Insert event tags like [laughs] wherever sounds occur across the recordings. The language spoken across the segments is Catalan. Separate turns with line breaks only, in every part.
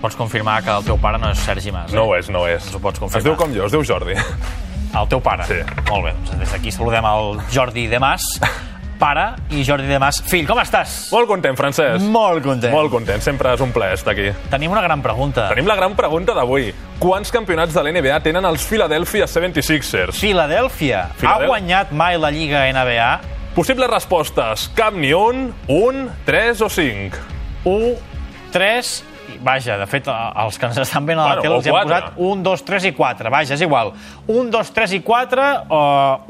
Pots confirmar que el teu pare no és Sergi Mas, eh?
No ho és, no ho és.
Ens ho pots confirmar.
Es diu com jo, es diu Jordi.
El teu pare.
Sí.
Molt bé, doncs des d'aquí saludem el Jordi de Mas, pare, i Jordi de Mas, fill. Com estàs?
Molt content, Francesc.
Molt content.
Molt content, sempre és un plaer estar aquí.
Tenim una gran pregunta.
Tenim la gran pregunta d'avui. Quants campionats de l'NBA tenen els Philadelphia 76ers?
Filadèlfia ha
Filadèl-
guanyat mai la Lliga NBA?
Possibles respostes. Cap ni un, un, tres o cinc.
1, 3... Vaja, de fet, eh, els que ens estan veient a la
Bueno,
tele
o
els hi hem
quatre.
posat 1, 2, 3 i 4. Vaja, és igual. 1, 2, 3 i 4, o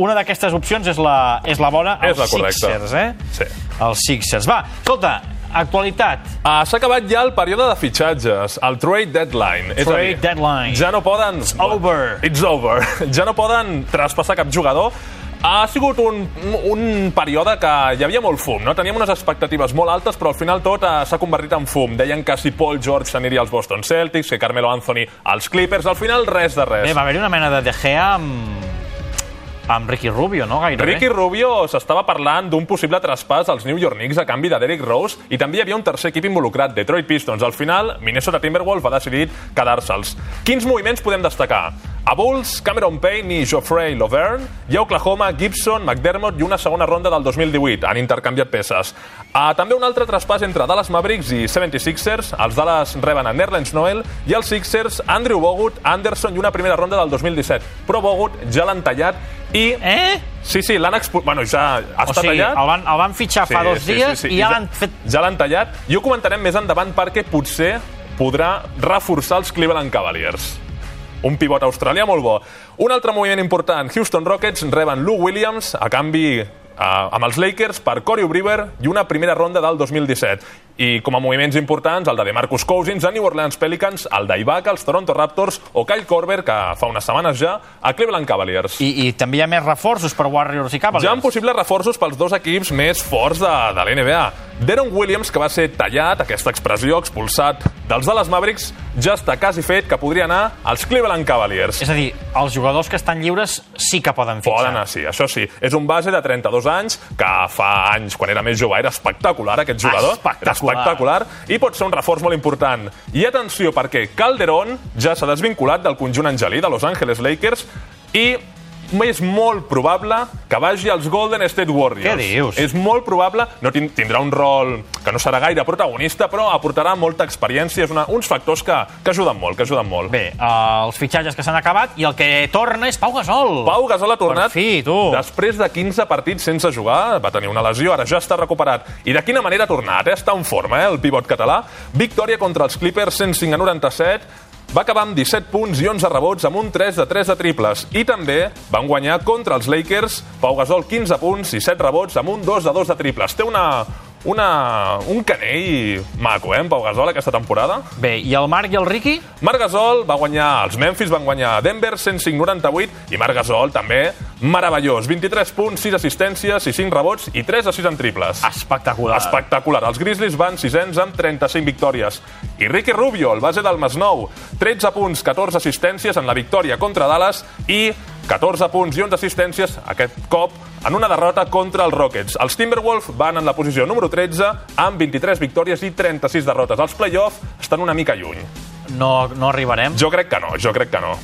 una d'aquestes opcions és la, és la bona.
És
Els
la correcta.
Sixers, eh?
Sí.
Els Sixers. Va, escolta, actualitat.
Ah, S'ha acabat ja el període de fitxatges, el trade deadline. És a
Trade
dir,
deadline.
Ja no poden... It's
over.
It's over. [laughs] Ja no poden traspassar cap jugador. Ha sigut un, un període que hi havia molt fum, no? Teníem unes expectatives molt altes, però al final tot eh, s'ha convertit en fum. Deien que si Paul George s'aniria als Boston Celtics, que Carmelo Anthony als Clippers, al final res de res.
Bé, va haver-hi una mena de De Gea amb, amb Ricky Rubio, no? Gairebé.
Ricky Rubio s'estava parlant d'un possible traspàs als New York Knicks a canvi de Derrick Rose i també hi havia un tercer equip involucrat, Detroit Pistons. Al final, Minnesota Timberwolves va decidir quedar-se'ls. Quins moviments podem destacar? A Bulls, Cameron Payne i Geoffrey Lovern, i a Oklahoma, Gibson, McDermott i una segona ronda del 2018. Han intercanviat peces. Ah, també un altre traspàs entre Dallas Mavericks i 76ers. Els Dallas reben a Nerlens Noel i els Sixers Andrew Bogut, Anderson i una primera ronda del 2017. Però Bogut ja l'han tallat i
Eh?
Sí, sí, l'han expulsat. Bueno, ja
O
està
sigui,
tallat.
el van, el van fitxar fa dos dies i ja
ja-
l'han fet...
Ja l'han tallat. I ho comentarem més endavant perquè potser podrà reforçar els Cleveland Cavaliers. Un pivot australià molt bo. Un altre moviment important. Houston Rockets reben Lou Williams a canvi eh, amb els Lakers per Corey Brewer i una primera ronda del 2017. I com a moviments importants, el de DeMarcus Cousins a New Orleans Pelicans, el d'Ibaka, els Toronto Raptors o Kyle Korver, que fa unes setmanes ja, a Cleveland Cavaliers.
I, I també hi ha més reforços per Warriors i Cavaliers.
Ja han possibles reforços pels dos equips més forts de, de l'NBA. Deron Williams, que va ser tallat, aquesta expressió, expulsat dels Dallas Mavericks, ja està quasi fet que podria anar als Cleveland Cavaliers.
És a dir, els jugadors que estan lliures sí que poden fitxar.
Poden anar, sí, això sí. És un base de 32 anys, que fa anys, quan era més jove, era espectacular aquest jugador. Era
Espectacular.
espectacular. I pot ser un reforç molt important. I atenció, perquè Calderón ja s'ha desvinculat del conjunt angelí de Los Angeles Lakers i és molt probable que vagi als Golden State Warriors.
Què dius?
És molt probable, no tin- tindrà un rol que no serà gaire protagonista, però aportarà molta experiència, és una, uns factors que, que ajuden molt, que ajuden molt.
Bé, eh, els fitxatges que s'han acabat i el que torna és Pau Gasol.
Pau Gasol ha tornat
Per fi, tu.
després de 15 partits sense jugar, va tenir una lesió, ara ja està recuperat. I de quina manera ha tornat, eh? està en forma, eh? el pivot català. Victòria contra els Clippers, 105 a 97, va acabar amb 17 punts i 11 rebots amb un 3 de 3 de triples. I també van guanyar contra els Lakers, Pau Gasol 15 punts i 7 rebots amb un 2 de 2 de triples. Té una, una, un canell maco, eh, en Pau Gasol, aquesta temporada.
Bé, i el Marc i el Riqui?
Marc Gasol va guanyar, els Memphis van guanyar a Denver 105-98 i Marc Gasol també meravellós, 23 punts, 6 assistències i 5 rebots i 3 de 6 en triples.
Ah. Espectacular.
Espectacular. Els Grizzlies van sisens amb 35 victòries. I Ricky Rubio, el base del Masnou, 13 punts, 14 assistències en la victòria contra Dallas i 14 punts i 11 assistències, aquest cop en una derrota contra els Rockets. Els Timberwolves van en la posició número 13 amb 23 victòries i 36 derrotes. Els play-off estan una mica lluny.
No, no arribarem.
Jo crec que no, jo crec que no.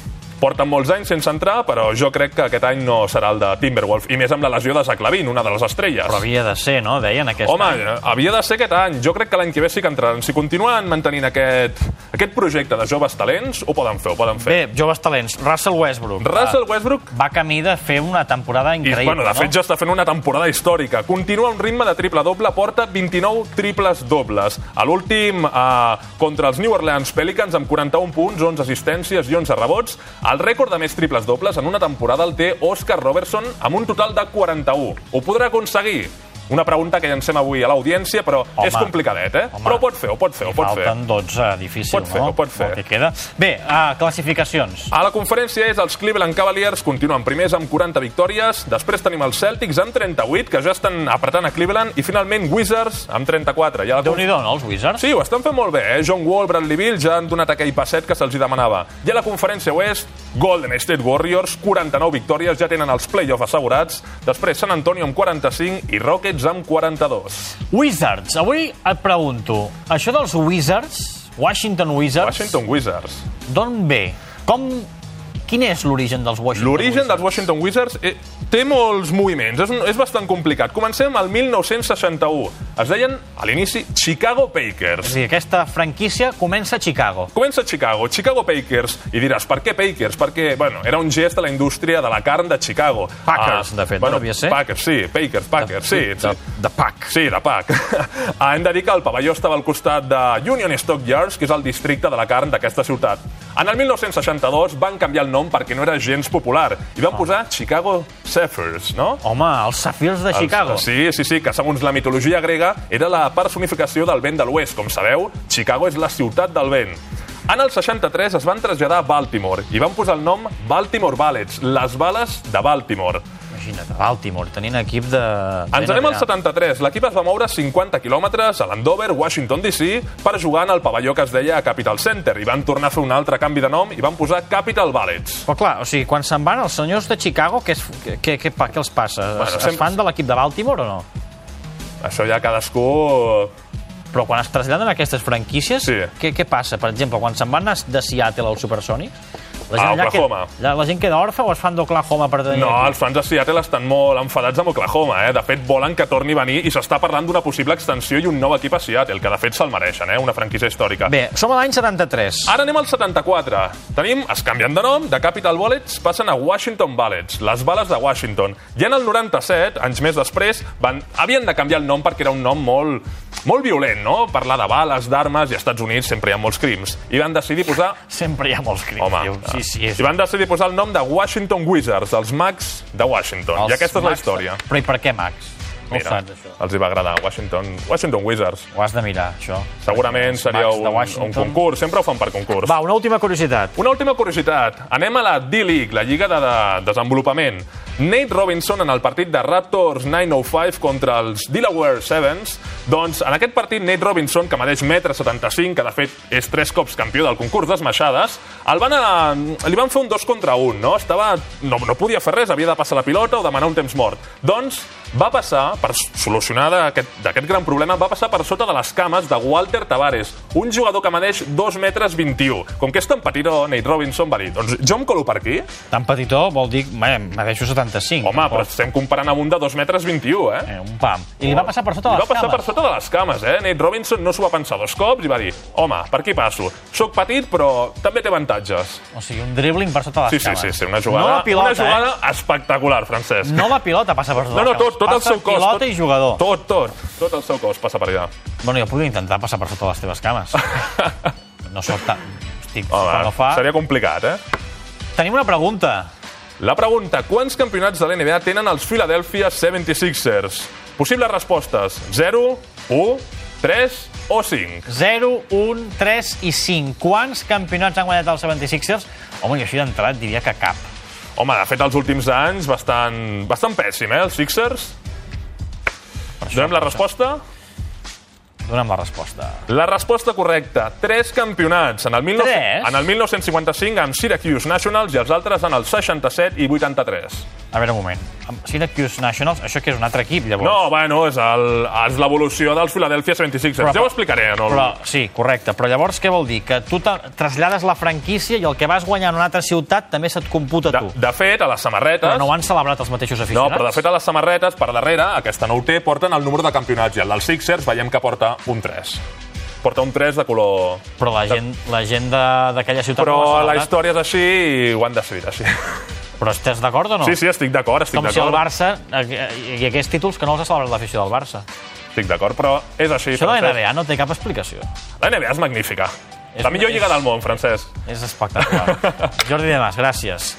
Porten molts anys sense entrar, però jo crec que aquest any no serà el de Timberwolf, i més amb la lesió de Zaclavin, una de les estrelles.
Però havia de ser, no? Deien aquest
Home,
any.
eh, havia de ser aquest any. Jo crec que l'any que ve sí que entraran. Si continuen mantenint aquest, aquest projecte de joves talents, ho poden fer, ho poden fer.
Bé, joves talents. Russell Westbrook. eh,
Russell Westbrook
Va camí de fer una temporada
I,
increïble,
bueno, de fet,
no?
ja està fent una temporada històrica. Continua un ritme de triple-doble, porta 29 triples-dobles. A l'últim, eh, contra els New Orleans Pelicans, amb 41 punts, 11 assistències i 11 rebots. El rècord de més triples-dobles en una temporada el té Oscar Robertson, amb un total de 41. Ho podrà aconseguir? Una pregunta que llancem avui a l'audiència, però
Home.
Home. és complicadet, eh?
Home.
Però ho pot fer, ho pot fer, ho pot fer.
Falten 12, difícil,
Pot fer,
no?
ho pot fer.
El que queda. Bé, uh, classificacions.
A la conferència és els Cleveland Cavaliers continuen primers amb 40 victòries, després tenim els Celtics amb 38, que ja estan apretant a Cleveland, i finalment Wizards amb 34. I a la
déu nhi no, els Wizards?
Sí, ho estan fent molt bé, eh? John Wall, Bradley Bill ja han donat aquell passet que se'ls hi demanava. I a la conferència oest, Golden State Warriors, 49 victòries, ja tenen els play-off assegurats. Després San Antonio amb 45 i Rockets amb 42.
Wizards, avui et pregunto, això dels Wizards Washington Wizards.
Washington Wizards.
D'on ve? Com... Quin és l'origen dels Washington
L'origen dels
Wizards?
Washington Wizards eh, té molts moviments, és, un- és bastant complicat. Comencem al 1961. Es deien, a l'inici, Chicago
És
Pakers.
a dir, aquesta franquícia comença a Chicago.
Comença a Chicago, Chicago Pakers. I diràs, per què Pakers? Perquè, bueno, era un gest a la indústria de la carn de Chicago. Ah,
Packers, de fet, no
bueno,
devia ser?
Packers, sí, Pakers, Packers, sí. sí.
de- de Pack.
Sí, de PAC. Ah, [laughs] Hem de dir que el pavelló estava al costat de Union Stock Yards, que és el districte de la carn d'aquesta ciutat. En el 1962 van canviar el nom perquè no era gens popular i van posar Chicago Zephyrs, no?
Home, els Safirs de Chicago.
Els- Sí, sí, sí, que segons la mitologia grega era la personificació del vent de l'oest. Com sabeu, Chicago és la ciutat del vent. En el 63 es van traslladar a Baltimore i van posar el nom Baltimore Ballets, les bales de Baltimore.
Imagina't, Baltimore, tenint equip de...
Ens
de
anem al
NBA.
73. L'equip es va moure 50 quilòmetres a l'Andover, Washington DC, per jugar en el pavelló que es deia Capital Center i van tornar a fer un altre canvi de nom i van posar Capital Ballets.
Però clar, o sigui, quan se'n van els senyors de Chicago, què, es, què, què, què, pa- què els passa? Bueno, es,
sempre-
es fan de l'equip de Baltimore o no?
Això ja cadascú...
Però quan es traslladen aquestes franquícies,
Sí.
què, què passa? Per exemple, quan se'n van a- de Seattle als Supersonics, la
A
allà
Oklahoma.
Que, la, la gent queda orfa o es fan d'Oklahoma per tenir...
No,
equip?
els fans de Seattle estan molt enfadats amb Oklahoma, eh? De fet, volen que torni a venir i s'està parlant d'una possible extensió i un nou equip a Seattle, que de fet se'l mereixen, eh? Una franquícia històrica.
Bé, som a l'any 73.
Ara anem al 74. Tenim, es canvien de nom, de Capital Bullets passen a Washington Bullets, les bales de Washington. I en el 97, anys més després, van, havien de canviar el nom perquè era un nom molt, molt violent, no? Parlar de bales, d'armes, i als Estats Units sempre hi ha molts crims. I van decidir posar...
Sempre hi ha molts crims.
Home,
tio. sí, sí, és...
I van decidir posar el nom de Washington Wizards, els mags de Washington.
els
I aquesta és la
Max-
història.
Però i per què Max? Com ho saps, això?
els hi va agradar, Washington, Washington Wizards.
Ho has de mirar, això.
Segurament
Els
seria
Mags de
un, un
Washington.
concurs, sempre ho fan per concurs.
Va, una última curiositat.
Una última curiositat. Anem a la D-League, la lliga de, de desenvolupament. Nate Robinson en el partit de Raptors 905 contra els Delaware Sevens. Doncs en aquest partit Nate Robinson, que medeix 1,75 m, que de fet és tres cops campió del concurs d'esmaixades, el van eh, a, li van fer un 2 contra 1, no? Estava, no, no podia fer res, havia de passar la pilota o demanar un temps mort. Doncs va passar, per solucionar d'aquest d'aquest gran problema, va passar per sota de les cames de Walter Tavares, un jugador que medeix 2 metres 21. Com que és tan petit, oh, Nate Robinson va dir, doncs jo em colo per aquí?
Tan petitó vol dir... Bé, mereixo 75.
Home, però estem comparant amb un de 2 metres 21, eh?
Eh, un pam. I li va passar per sota de
Li va
les
passar per
cames.
sota de les cames, eh? Nate Robinson no s'ho va pensar dos cops i va dir, home, per aquí passo. Soc petit, però també té avantatges.
O sigui, un dribbling per sota de les
Sí, sí,
cames.
sí, sí, una jugada,
No la pilota,
una jugada espectacular, Francesc.
eh? No la pilota passa per sota
No,
de
no,
les cames.
tot, tot el
Passa
seu cos.
pilota
tot,
i jugador.
Tot, tot. Tot el seu cos passa per allà.
Bueno, jo podria intentar passar per sota de les teves
[laughs]
cames. no soc tan... Estic,
Home,
Home, no fa...
seria complicat, eh?
Tenim una pregunta.
La pregunta, quants campionats de l'NBA tenen els Philadelphia 76ers? Possibles respostes, 0, 1, 3 o 5.
0, 1, 3 i 5. Quants campionats han guanyat els 76ers? Home, jo així d'entrat diria que cap.
Home, de fet, els últims anys, bastant, bastant pèssim, eh, els Sixers? Donem la resposta?
Dóna'm la resposta.
La resposta correcta, tres campionats. En el, 19...
Tres?
en el 1955 amb Syracuse Nationals i els altres en el 67 i 83.
A veure, un moment. Amb Syracuse Nationals, això que és un altre equip, llavors.
No, bueno, és el- és l'evolució dels Philadelphia 76ers.
Però-
ja ho explicaré. No?
Però, sí, correcte. Però llavors què vol dir? Que tu te- trasllades la franquícia i el que vas guanyar en una altra ciutat també se't computa a
de,
tu.
de fet, a les samarretes...
Però no ho han celebrat els mateixos
No,
aficionats?
però de fet a les samarretes, per darrere, aquesta no ho té, porten el número de campionats. I el dels Sixers veiem que porta un 3. Porta un 3 de color...
Però la gent, la gent de- d'aquella ciutat...
Però
no ho ha
la
celebrat.
història és així i ho han decidit així.
Però estàs d'acord o no?
Sí, sí, estic d'acord, estic
Com si el
d'acord.
Barça... eh, I aquests títols que no els ha celebrat l'afició del Barça.
Estic d'acord, però és així.
Això de la
Francesc.
NBA no té cap explicació.
La NBA és magnífica.
És
la millor
una-
lliga
és-
del món, Francesc. [laughs]
És espectacular. Jordi Demàs, gràcies.